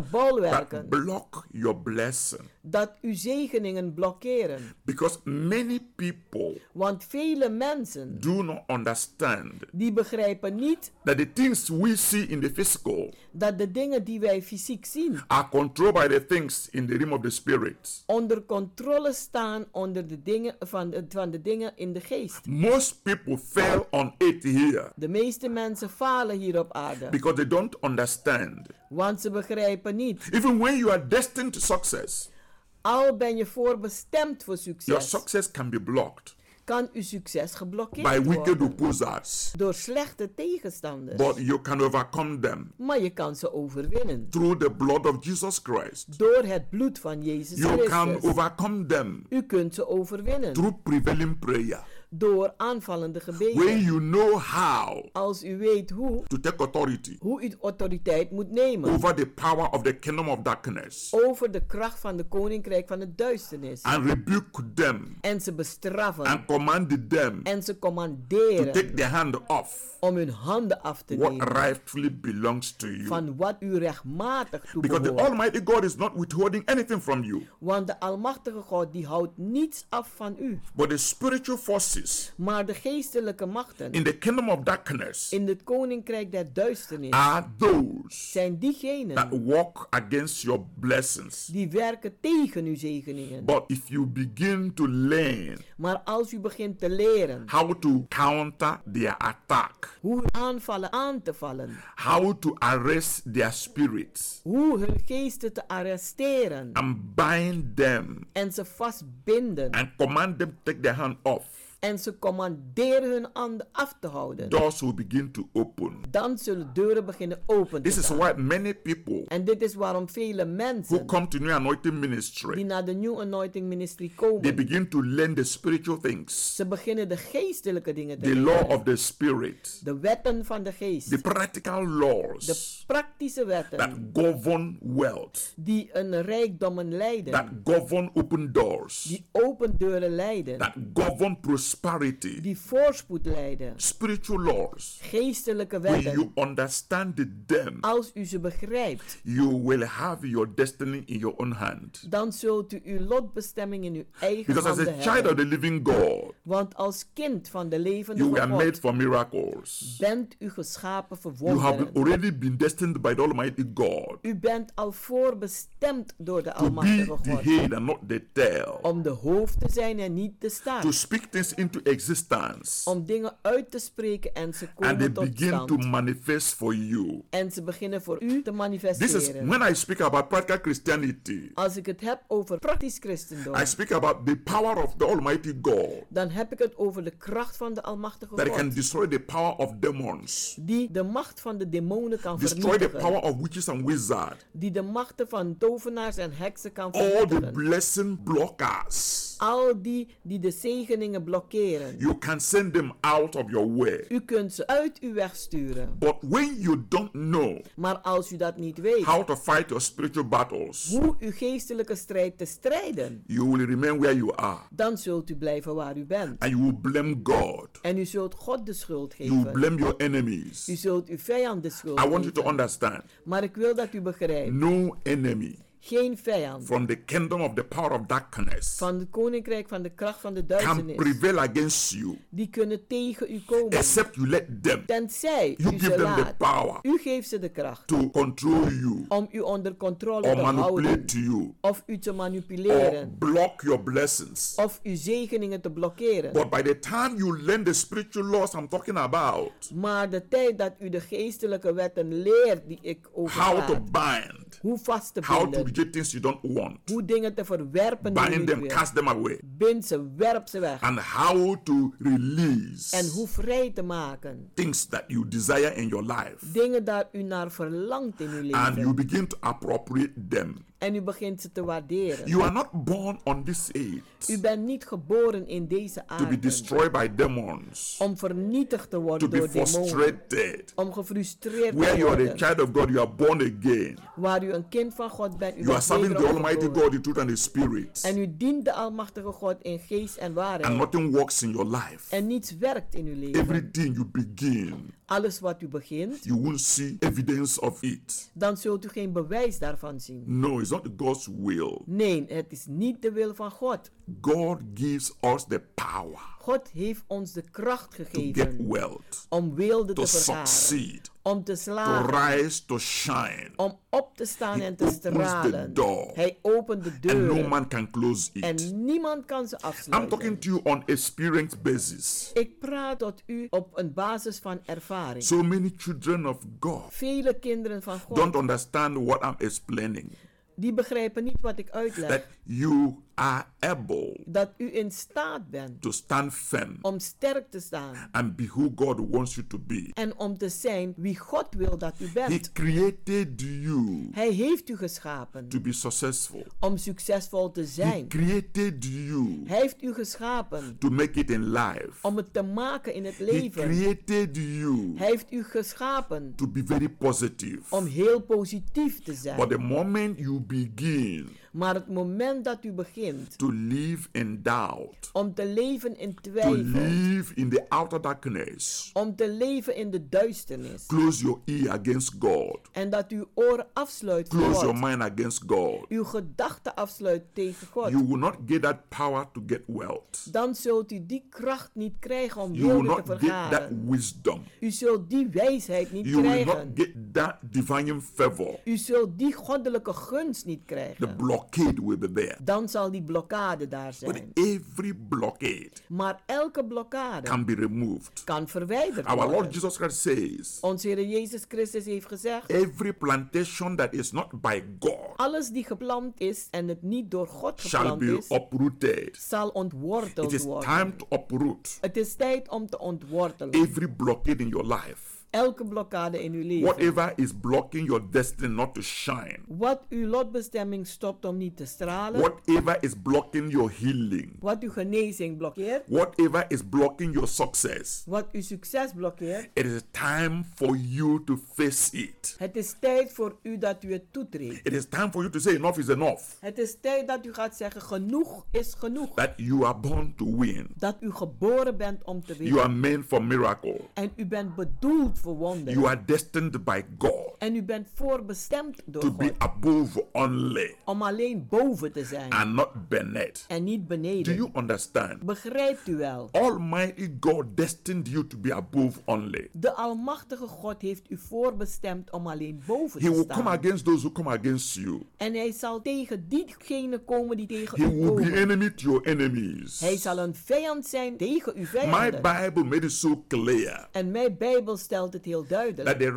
that
bolwerken.
block your blessing.
Dat uw zegeningen blokkeren.
Because many people
Want vele mensen
do not understand
die begrijpen niet
that the things we see in the physical
dat de dingen die wij fysiek zien
are controlled by the things in the realm of the spirit.
onder controle staan onder de dingen van, de, van de dingen in de geest.
Most people fail on it here
De meeste mensen falen hier op aarde,
because they don't understand.
want ze begrijpen niet.
Even when you are destined to success,
Al ben je voorbestemd voor
Your
succes,
success can be blocked
kan uw succes geblokkeerd
by wicked
worden
opposers,
door slechte tegenstanders.
but you can overcome them
maar je kan ze overwinnen
through the blood of Jesus Christ.
door het bloed van Jezus
You can
Christus.
overcome them
U kunt ze overwinnen
through prevailing prayer.
door aanvallende
When
gebeden.
you know how
Als u weet hoe,
to take authority
hoe u autoriteit moet nemen
over the power of the kingdom of darkness
over de kracht van de koninkrijk van de duisternis.
and rebuke them
En ze bestraffen
and command them
en
to take
ze commanderen
their hand off
om hun handen af te
what
nemen
rightfully belongs to you.
van wat u rechtmatig
Because the
toebehoort.
Almighty God is not withholding anything from you,
Want de Almachtige God die houdt niets af van u.
but the spiritual forces
Maar de geestelijke machten
in the kingdom of darkness
in het koninkrijk der duisternis
are those
zijn
that
diegenen
walk against your blessings.
die werken tegen uw zegeningen.
But if you begin to learn
Maar als u begint te leren
how to counter their attack,
hoe hun aanvallen aan te vallen,
how to arrest their spirits
hoe hun geesten te arresteren
and bind them
en ze vastbinden
and command them to take their hand off,
en ze commanderen hun handen af te houden,
doors will begin to open.
dan zullen deuren beginnen open te
This is
gaan.
why many people
En dit is waarom vele
who
mensen
come to New Anointing
die
Ministry
naar de New Anointing Ministry
they
komen,
begin to learn the spiritual things,
ze beginnen de geestelijke dingen te
the law
leren.
of the spirit,
De wetten van de geest,
the practical
de
laws
praktische wetten
that govern wealth,
die een rijkdommen leiden,
that govern open doors,
die open deuren leiden,
that govern prosperity,
die voorspoed leiden,
spiritual laws.
geestelijke
When you
wetten.
understand them,
Als u ze begrijpt,
you will have your destiny in your own hand.
dan zult u uw lotbestemming in uw eigen
Because as
handen
a child of
hebben.
the living God,
Want als kind van de
you
levende
were made
God
for miracles.
bent u geschapen voor
You have
wonderen.
already been destined by the Almighty God
U bent al voorbestemd door de
to be
Almachtige
the
Oh God Oh
head and not the tail,
om de hoofd te zijn en niet de staart.
to speak things into existence,
Om dingen uit te spreken en ze
and they
komen tot
begin to
stand.
manifest for you.
En ze beginnen voor u te
This is
manifesteren.
when I speak about practical Christianity.
Als ik het heb over praktisch christendom,
I speak about the power of the Almighty God
dan heb ik het over de kracht van de Almachtige
that can
God.
destroy the power of demons,
Die de macht van de demonen kan
destroy the power
vernietigen.
of witches and wizards,
Die de machten van tovenaars en heksen kan
all the
vernietigen.
blessing blockers.
Al die die de zegeningen blokkeren.
You can send them out of your way.
U kunt ze uit uw weg sturen.
But when you don't know
Maar als u dat niet weet,
how to fight your spiritual battles,
hoe uw geestelijke strijd te strijden,
you will remain where you are
dan zult u blijven waar u bent.
and you will blame God.
En u zult God de schuld
You will
geven.
blame your
U
enemies.
zult uw vijand de schuld
I want you to
geven.
understand
Maar ik wil dat u begrijpt.
no enemy
Geen vijand
from the kingdom of the power of darkness
van het koninkrijk van de kracht van de
can
duisternis.
prevail against you
Die kunnen tegen u komen.
except you let them.
Tenzij
You
u
give
ze
them the
laat.
power
U geeft ze de kracht
to control you
om u onder controle
or
te houden.
manipulate you
Of u te
or
manipuleren.
block your blessings.
Of uw zegeningen te blokkeren.
But by the time you learn the spiritual laws I'm talking about,
Maar de tijd dat u de geestelijke wetten leert die ik
how to
overlaat.
bind,
Hoe vast te
how to
binden.
reject things you don't want,
Hoe dingen te verwerpen die u
bind
niet
them,
wilt.
cast them away,
Bind ze, werp ze weg.
and how to
En
release
hoe vrij te maken.
things that you desire in your life.
Dingen daar u naar verlangt in uw
And you
leven.
begin to appropriate them.
En u begint ze te waarderen.
You are not born on this
U
age
bent niet geboren in deze
to be
aarde
destroyed by demons,
om vernietigd te
to
worden
be
door demonen.
frustrated.
Om gefrustreerd
Where
te
you are a
worden.
child of God, you are born again.
Waar u een kind van God bent, u
You are
bent
serving the
wederom
Almighty
geboren.
God, the truth and the Spirit.
En u dient de Almachtige God in geest en
And
waarheid.
nothing works in your life.
En niets werkt in uw leven.
Everything you begin,
Alles wat u begint,
you won't see evidence of it.
dan zult u geen bewijs daarvan zien.
No, it's not God's will.
Nee, het is niet de wil van God.
God gives us the power
God heeft ons de kracht
to get
gegeven
wealth,
om weelde
to
te vergaren,
succeed,
om te
to
slagen,
rise, to shine.
om op te staan
He
en te
opens the
stralen.
door.
Hij opent de
And no
deuren
man can close it.
en niemand kan ze
I'm talking
afsluiten.
to you on experience basis.
Ik praat tot u op een basis van ervaring.
So many children of God
Vele kinderen van
don't
God
understand what I'm explaining.
die begrijpen niet wat ik
That
uitleg.
you are able
dat u in staat bent
to stand firm
om sterk te staan
and be who God wants you to be.
en om te zijn wie God wil dat u
He
bent.
created you
Hij heeft u geschapen
to be successful.
om succesvol te
He
zijn.
created you
Hij heeft u geschapen
to make it in life.
om het te maken in het
He
leven.
created you
Hij heeft u geschapen
to be very positive.
om heel positief te
But the
zijn.
moment you begin
Maar het moment dat u begint
to live in doubt,
om te leven in
to
twijfel,
live in the outer darkness,
om te leven in de duisternis
close your ear against God,
en dat uw oren afsluit voor
close your
God,
mind against God,
uw gedachten afsluit tegen
you
God,
will not get that power to get wealth.
dan zult u die kracht niet krijgen om
You will
woorden te
not get that
vergaren.
wisdom.
U zult die wijsheid niet
You will not
krijgen.
get that divine favor.
U zult die goddelijke gunst niet
The
krijgen.
blockade will be there.
Dan zal die blokkade daar
But
zijn.
every blockade
Maar elke
can
blokkade
be removed.
kan verwijderd
Our Lord
worden.
Jesus Christ says,
Onze Heer Jezus Christus heeft gezegd:
every plantation that is not by God
alles die geplant is en het niet door God
shall
geplant
be
is,
uprooted.
zal ontworteld
It is
worden.
time to uproot
Het is tijd om te ontwortelen.
every blockade in your life.
Elke blokkade in uw leven.
Whatever is blocking your destiny not to shine.
Wat uw lotbestemming stopt om niet te stralen.
Whatever is blocking your healing.
Wat uw genezing blokkeert.
Whatever is blocking your success.
Wat uw succes blokkeert.
It is time for you to face it.
Het is tijd voor u dat u het toetreedt.
It is time for you to say enough is enough.
Het is tijd dat u gaat zeggen: genoeg is genoeg.
That you are born to win.
Dat u geboren bent om te
You are
winnen.
meant for miracle.
En u bent bedoeld voor
You
wonderen.
are destined by God
En u bent voorbestemd door
to be
God
above only
om alleen boven te zijn
and not beneath.
en niet
Do
beneden.
you Oh. understand?
Begrijpt u wel?
Almighty God destined you to be above only.
De Almachtige God heeft u voorbestemd om alleen boven
He
te
will come
staan.
against those who come against you.
En hij zal tegen diegenen komen die tegen
He
u
will be
komen.
enemy to your enemies.
Hij zal een vijand zijn tegen uw
My
vijanden.
Bible made it so clear
En mijn Bijbel stelt het heel
that
duidelijk.
the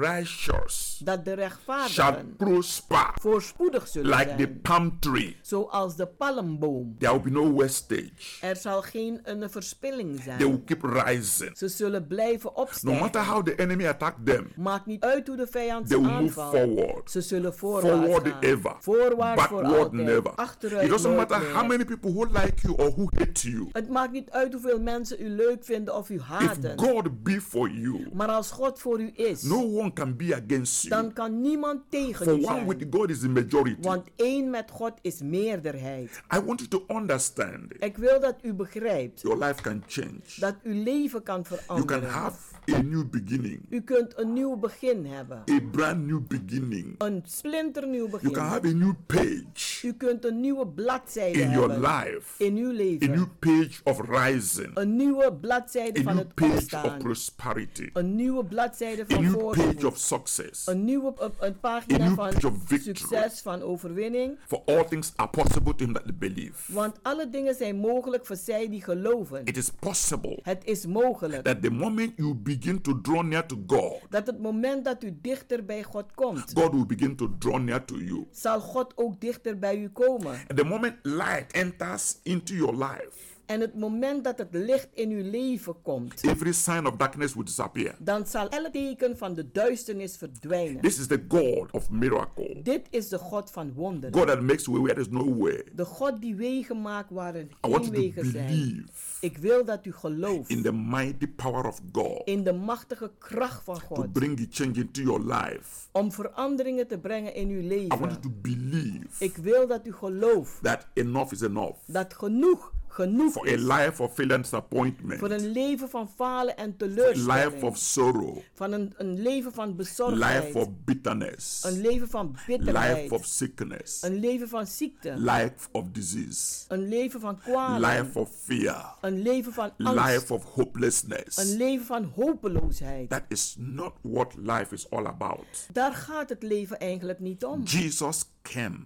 righteous
Dat de
shall
rechtvaardigen
prosper
voorspoedig zullen
like the
zijn.
palm tree.
Zoals de palmboom.
There will be no wastage.
Er zal geen een verspilling
They will
zijn.
keep rising.
Ze zullen blijven
No matter
opstijgen.
how the enemy attack them,
Maakt niet uit hoe de vijand
they
ze
will move
aanvalt.
forward.
Ze zullen voorwaarts
Forward ever.
gaan. Voorwaard voor
Backward
altijd.
never. It
Achteruit
doesn't
nooit
matter how
meer.
many people who like you or who hate you.
Het maakt niet uit hoeveel mensen u leuk vinden of u
If
haten.
God be for you,
Maar als God voor u is,
no one can be against you.
dan kan niemand
For
tegen u
one
zijn.
with God is the majority.
Want één met God is meerderheid.
I want you to understand
Ik wil dat u begrijpt
your life can change.
dat uw leven kan
You can
veranderen.
have a new beginning,
U kunt een nieuw begin hebben.
a brand new beginning.
Een splinternieuw
You can
begin.
have a new page
U kunt een nieuwe bladzijde
in your
hebben
life,
in uw
a new
leven.
page of rising,
Een nieuwe
a
bladzijde van
new
het
page of
opstaan.
prosperity,
Een nieuwe bladzijde
a
van
new page
voorspoed.
of success.
Een nieuwe een- een
A
pagina
new
van
page of victory.
succes, van overwinning.
For all things are possible to him that believe.
Want alle dingen zijn mogelijk voor zij die geloven.
It is possible
Het is mogelijk
that the moment you begin to draw near to God,
dat het moment dat u dichter bij God komt,
God will begin to draw near to you.
zal God ook dichter bij u komen.
And the moment light enters into your life,
En het moment dat het licht in uw leven komt,
every sign of darkness will disappear.
dan zal elk teken van de duisternis verdwijnen.
This is the God of miracle.
Dit is de God van wonderen.
God that makes way where there's no way.
De God die wegen maakt waar er
I want
geen
you to
wegen zijn.
believe
Ik wil dat u gelooft
in the mighty power of God
in de machtige kracht van
to
God.
bring the change into your life.
om veranderingen te brengen in uw
I want you
leven.
to believe
Ik wil dat u gelooft
that enough is enough
dat genoeg genoeg
for a
is
life of failure and disappointment,
voor een leven van falen en
life of
teleurstelling,
sorrow,
van een, een leven van
life
bezorgdheid,
of bitterness,
een leven van
life of
bitterheid,
sickness,
een leven van ziekte,
life of disease,
een leven van kwalen,
life of fear,
een leven van angst,
life of hopelessness.
een leven van hopeloosheid.
That is not what life is all about.
Daar gaat het leven eigenlijk niet om.
Jesus came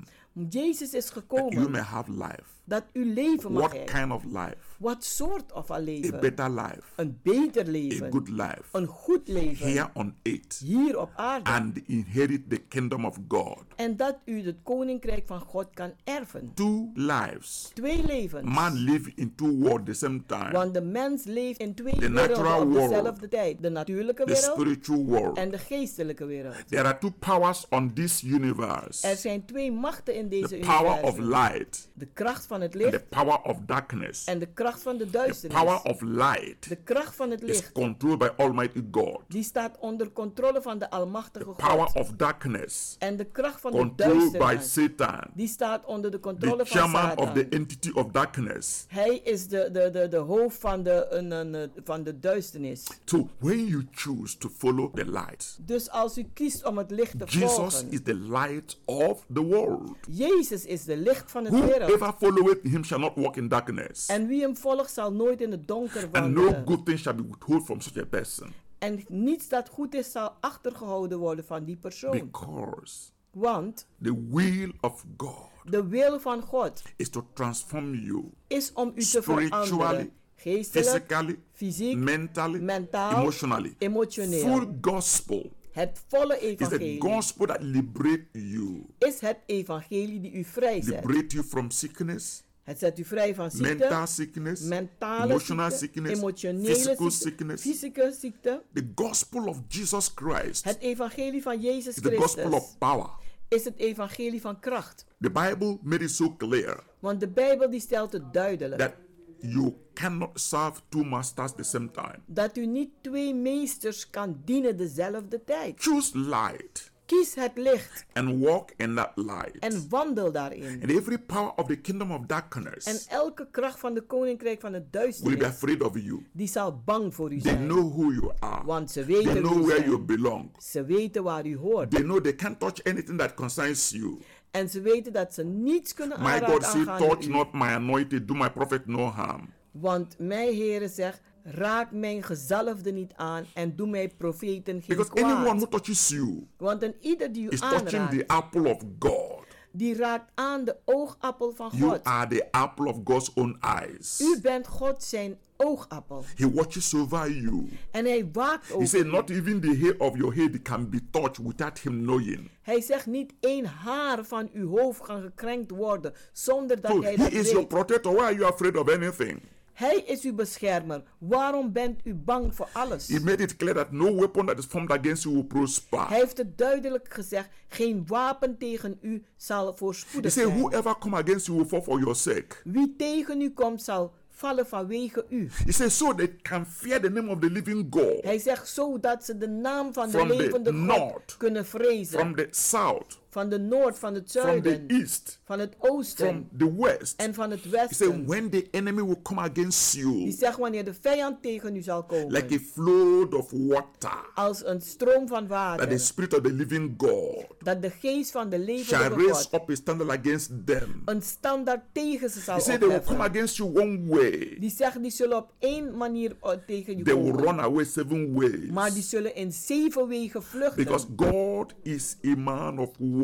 Jezus is
that you may
Oh, gekomen
have life
dat u leven mag
What
hebben.
kind of life?
Wat soort of een leven?
A better life.
Een beter leven.
A good life.
Een goed leven.
Here on earth.
Hier op aarde.
And inherit the kingdom of God.
en dat u het koninkrijk van God kan erven.
Two lives.
Twee levens.
Man live in two worlds the same time.
Want de mens leeft in twee
The
werelden
natural
op
world.
dezelfde tijd. De natuurlijke
the
wereld
spiritual world.
en de geestelijke wereld.
There are two powers on this universe.
Er zijn twee machten in deze
the power of
universum.
light
De kracht van het
and the
licht
power of darkness.
en de kracht van de
the
duisternis.
power of light
de kracht van het
is
licht
controlled by Almighty God.
die staat onder controle van de Almachtige God.
Power of darkness
en de kracht van de
controlled by
duisternis
Satan.
die staat onder de
The
controle van
chairman
Satan.
of the entity of darkness.
Hij is de, de, de, de hoofd van de, een, een, eh, van de duisternis.
So when you choose to follow the light,
Dus als u kiest om het licht te
Jesus
volgen,
is the light of the world.
Jezus is de licht van het wereld.
Whoever followeth him shall not walk in darkness.
En wie hem volgt zal nooit in het donker
And no
wandelen.
good thing shall be withheld from such a person.
En niets dat goed is zal achtergehouden worden van die persoon.
Because
Want
the will of God
de wil van God
is to transform you
is om u te
spiritually,
veranderen. Geestelijk,
physically,
fysiek,
mentally,
mentaal,
emotionally.
emotioneel.
Full gospel
Het volle
is the
evangelie
gospel that liberates you,
is het evangelie die u vrijzet.
liberate you from sickness,
Het zet u vrij van ziekte,
mental sickness,
mentale
emotional
ziekte,
sickness,
emotionele
physical
ziekte,
sickness.
fysieke ziekte.
The gospel of Jesus Christ
Het evangelie van Jezus
is the gospel
Christus
of power.
is het evangelie van kracht.
The Bible made it so clear
Want de Bijbel die stelt het duidelijk.
that you cannot serve two masters at the same time.
Dat u niet twee meesters kan dienen dezelfde tijd.
Choose light
Kies het licht
and walk in that light.
en wandel daarin.
And every power of the kingdom of darkness
En elke kracht van de koninkrijk van het
will be
duisternis,
afraid of you.
die zal bang voor u
They
zijn.
know who you are.
Want ze
They
weten
know
wie u
where you
bent.
belong.
Ze weten waar u hoort.
They know they can't touch anything that concerns you.
En ze weten dat ze niets kunnen
My God
aanraken
said,
aangaande
touch
u.
not my anointed, do my prophet no harm.
Want mijn Heere zegt, raak mijn gezalfde niet aan en doe mijn profeten geen
Because anyone who
kwaad.
touches you
Want een ieder die u
is touching
aanraakt,
the apple of God.
die raakt aan de oogappel van
You
God.
are the apple of God's own eyes.
U bent God zijn oogappel.
He watches over you.
En hij waakt
He
over
said,
u.
Not even the hair of your head can be touched without him knowing.
Hij zegt niet één haar van uw hoofd kan gekrenkt worden zonder dat
So
hij
he
dat
is your
weet.
protector. Why are you afraid of anything?
Hij is uw beschermer. Waarom bent u bang voor alles?
He made it clear that no weapon that is formed against you will prosper.
Hij heeft het duidelijk gezegd. Geen wapen tegen u zal
He
voorspoedig
said,
zijn.
Whoever come against you will fall for your sake.
Wie tegen u komt zal vallen vanwege u.
He said, So they can fear the name of the living God
Hij zegt zodat ze de naam van de
From the
levende God
north.
kunnen
from
vrezen.
the south,
Van de noord, van het
from the
zuiden,
east,
van het
from
oosten
the west.
en van het
He
westen.
said, When the enemy will come against
Die
you
zegt wanneer de vijand tegen u zal komen.
like a flood of water,
als een stroom van
that the
water.
spirit of the living God
Dat de geest van de
shall
levende
raise
God
up a standard against them.
een standaard tegen ze zal
He said, They will come
opheffen.
against you one way,
Die zegt die zullen op één manier eh, tegen je
they will
komen.
run away seven ways.
Maar die zullen in zeven wegen
Because
vluchten.
God is a man of war.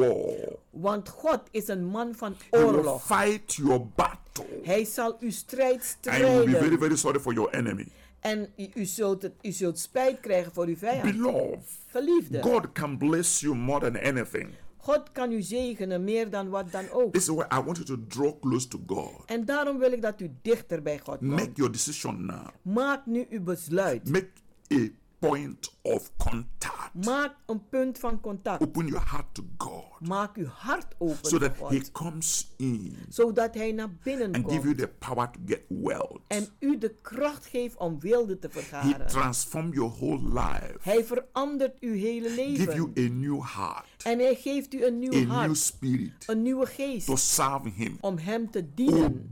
Want God is een man van
He will
oorlog.
fight your battle.
Hij zal uw strijd
And you will be very,
strijden.
very sorry for your enemy.
En u, u zult het, u zult spijt krijgen voor uw vijand.
Beloved,
Geliefde,
God can bless you more than anything.
God kan u zegenen meer dan wat dan ook.
This is why I want you to draw close to God.
En daarom wil ik dat u dichter bij God komt.
Make your decision now.
Maak nu uw besluit.
Make a point of contact.
Maak een punt van contact.
Open your heart to God
Maak uw hart open
so that
voor
He
God,
comes in
zodat hij naar binnen
and give you
komt
the power to get wealth.
en u de kracht geeft om wilde te
He
vergaren.
transform your whole life,
Hij verandert uw hele
give you
leven
a new heart,
en hij geeft u een
a
nieuw
new
hart,
spirit
een nieuwe
to
geest
serve Him
om hem te dienen,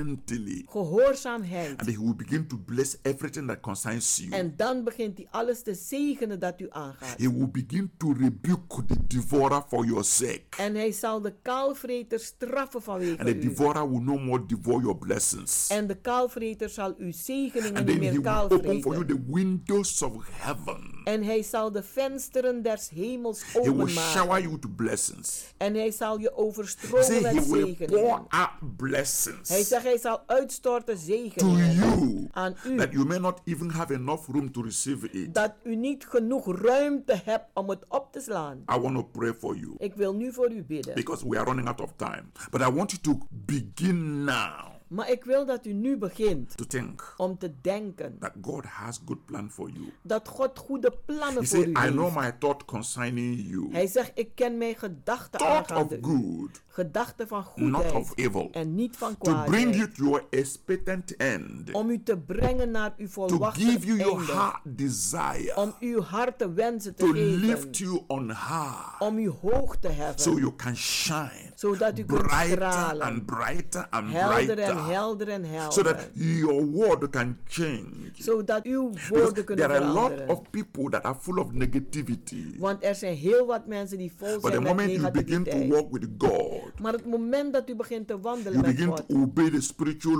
obediently, and
gehoorzaamheid.
He will begin to bless everything that concerns you.
En dan begint hij alles te zegenen dat u aangaat.
He will begin to rebuke the devourer for your sake.
En hij zal de kaalvreter straffen
And the
vanwege u.
devourer will no more devour your blessings.
En de kaalvreter zal uw zegeningen
And
niet
then he
meer
will open for you
kaalvreten.
the windows of heaven.
En hij zal de vensteren des hemels
He will shower
openmaken.
you with blessings.
En hij zal je
Say
overstromen
he
met
will pour
zegeningen.
out blessings
Hij zegt, hij zal uitstorten
to
zegeningen
you
aan u.
that you may not even have enough room to receive it.
Dat u niet genoeg ruimte hebt om het op te slaan.
I want to pray for you
Ik wil nu voor u bidden.
because we are running out of time. But I want you to begin now
Maar ik wil dat u nu begint
to think
om te denken
that God has good plan for you.
dat God goede
He
plannen voor
said,
u
I know
heeft.
my thought concerning you.
Hij zegt, ik ken mijn gedachten
Thought
aangaande
of
u.
good,
Gedachten van
not of
goedheid
evil.
en niet van
To bring
kwaadheid.
you to your expectant end.
Om u te brengen naar uw
To
volwachte
give you your
einde.
heart desire.
Om uw hart te wensen te
To
geven.
lift you on high.
Om u hoog te heffen.
So you can shine.
zodat u kunt
brighter
stralen.
and brighter and
Helder en
brighter.
helder en helder.
So that your word can change.
zodat uw
Because
woorden kunnen
there are a lot
veranderen.
of people that are full of negativity.
Want er zijn heel wat mensen die vol
But the
zijn met
moment you begin to
negativiteit.
walk with God,
Maar het moment dat u begint te wandelen
you
met
begin to
God.
obey the spiritual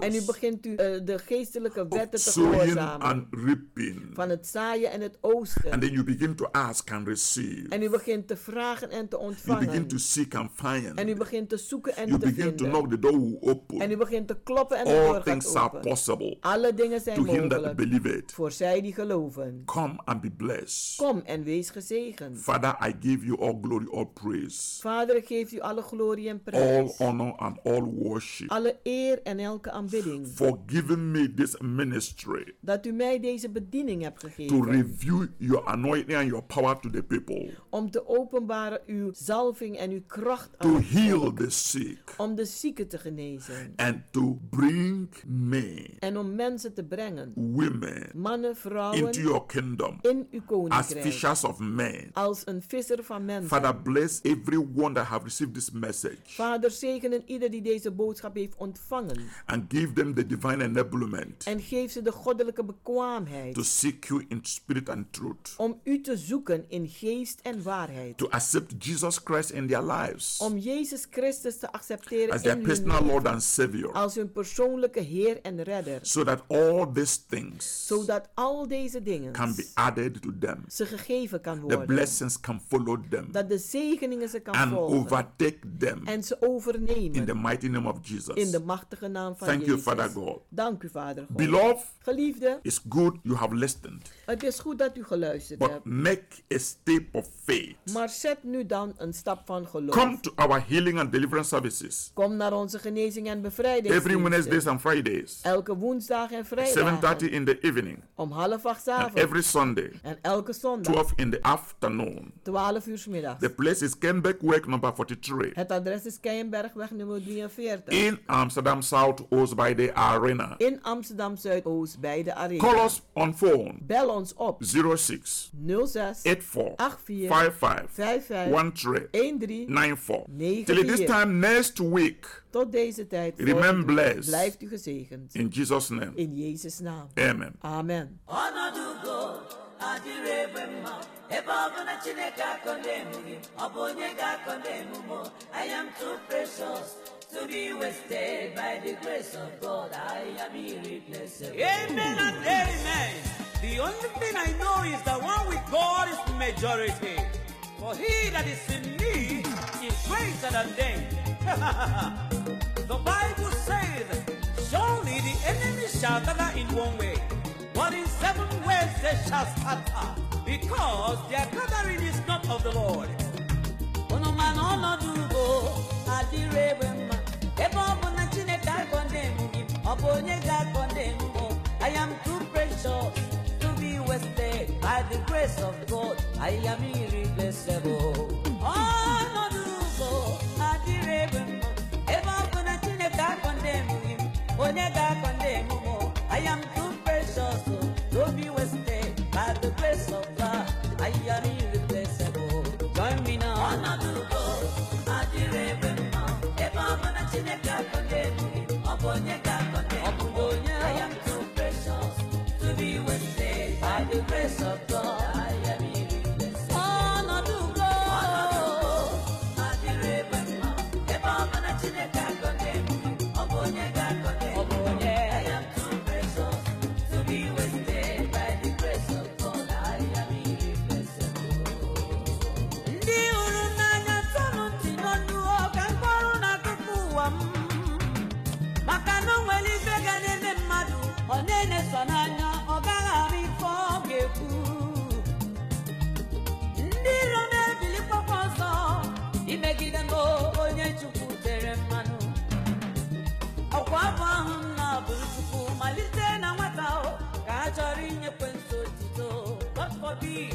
En nu
laws
begint u eh, de geestelijke
of
wetten te
sowing
gehoorzamen.
and reaping.
Van het zaaien en het oosten.
And then you begin to ask and receive.
En u begint te vragen en te
You begin
ontvangen.
to seek and find.
En u begint te zoeken en
You
te
begin to knock,
vinden.
the door will
En u
open.
begint te kloppen en de
All
deur
things
gaat
are
open.
possible
Alle dingen zijn
to him that
mogelijk
believe it.
voor zij die geloven.
Come and be blessed.
Kom en wees gezegend.
Father, I give you all glory, all praise,
Vader, ik geef u alle glorie en
all
prijs.
honor, and all worship
Alle eer en elke aanbidding.
for giving me this ministry
Dat u mij deze bediening hebt
to
gegeven.
reveal your anointing and your power to the people,
Om te openbaren uw zalving en uw kracht aan
to
het
heal
volk.
the sick,
Om de zieken te genezen.
and to bring men,
En om mensen te brengen.
women
Mannen,
into
vrouwen.
your kingdom
In uw
as
koninkrijk.
fishers of men.
Als een visser van mensen.
Father, bless everyone that have received this message
Vader, zegenen ieder die deze boodschap heeft ontvangen.
and give them the divine enablement
En geef ze de goddelijke
to
bekwaamheid.
seek you in spirit and truth,
Om u te zoeken in geest en waarheid.
to accept Jesus Christ in their lives
Om Jezus Christus te accepteren
Dus- as their
in hun
personal
leven.
Lord and Savior,
als hun persoonlijke Heer en Redder,
so that all these things
zodat al deze dingen
can be added to them.
ze gegeven kan
The
worden,
blessings can follow them
dat de zegeningen ze kan
and
volgen
overtake them
en ze
in the
overnemen
mighty name of Jesus.
in de machtige naam van
Thank you,
Jezus.
Father God.
Dank u, Vader God.
Beloved,
Geliefde,
it's good you have listened,
het is goed dat u geluisterd
but
hebt,
make a step of faith.
maar zet nu dan een stap van geloof.
Come to our healing and deliverance services
Kom naar onze genezing en
every Wednesdays
bevrijding.
and Fridays,
Elke woensdag en vrijdag
7:30 in the evening,
om half acht 's
and
avonds
every Sunday,
en elke zondag
12 in the afternoon.
12 uur 's middags.
The place is Kenbeck Work number 43
Het adres is Keienbergweg nummer 43.
in Amsterdam South Oost by the Arena.
in Amsterdam Zuidoost bij de Arena.
Call us on phone
Bel ons op
06
06
84
84
55 13
13
94.
Negen
Till this
vier.
time next week,
Tot deze tijd. voor-
remain blessed
Blijft u gezegend.
in Jesus' name.
In Jezus' naam.
Amen.
Amen.
Amen and amen. The only thing I know is that one with God is the majority. For he that is in me is greater than they. the Bible says, Surely the enemy shall gather in one way, but in seven ways they shall scatter, because their gathering is not of the Lord. Unu ma na ọnọdụ ugo adịrị egbe mma ebe ọ bụ na Chineke akọndem gị ọ bụ onye ga-akọndem m I am too precious to be wasted by the grace of God I am irreplaceable ọnọdụ ugo adịrị egbe mma ebe ọ bụ na Chineke akọndem gị onye ga-akọndem m I am too precious to be wasted by the grace of God I am irreplaceable join me now I am too precious to be wasted by the grace of God. I am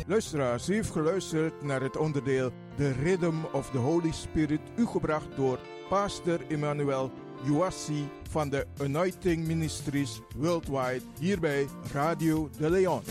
Luisteraars, u heeft geluisterd naar het onderdeel The Rhythm of the Holy Spirit, u gebracht door Pastor Emmanuel Juassi van de Anointing Ministries Worldwide, hier bij Radio de Leon.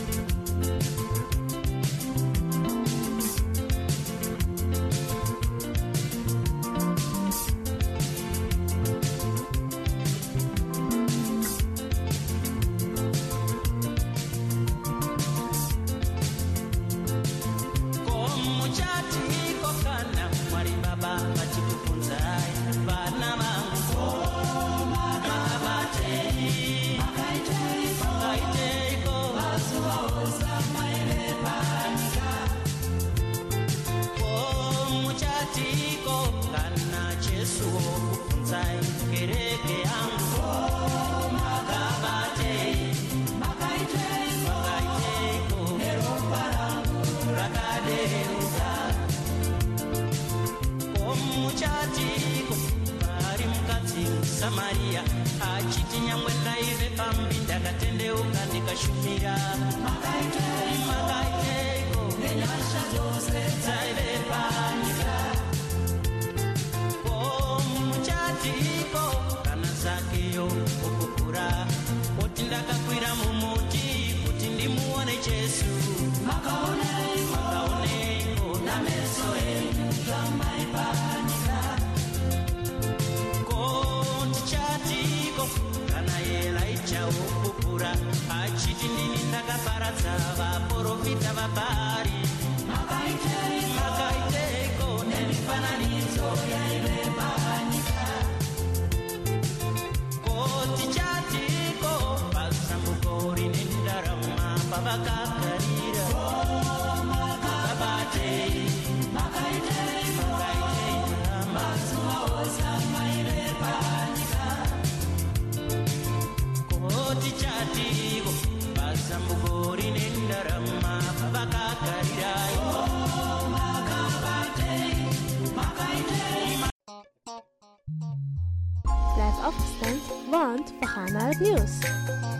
Blijf afgestemd, want we gaan naar het nieuws.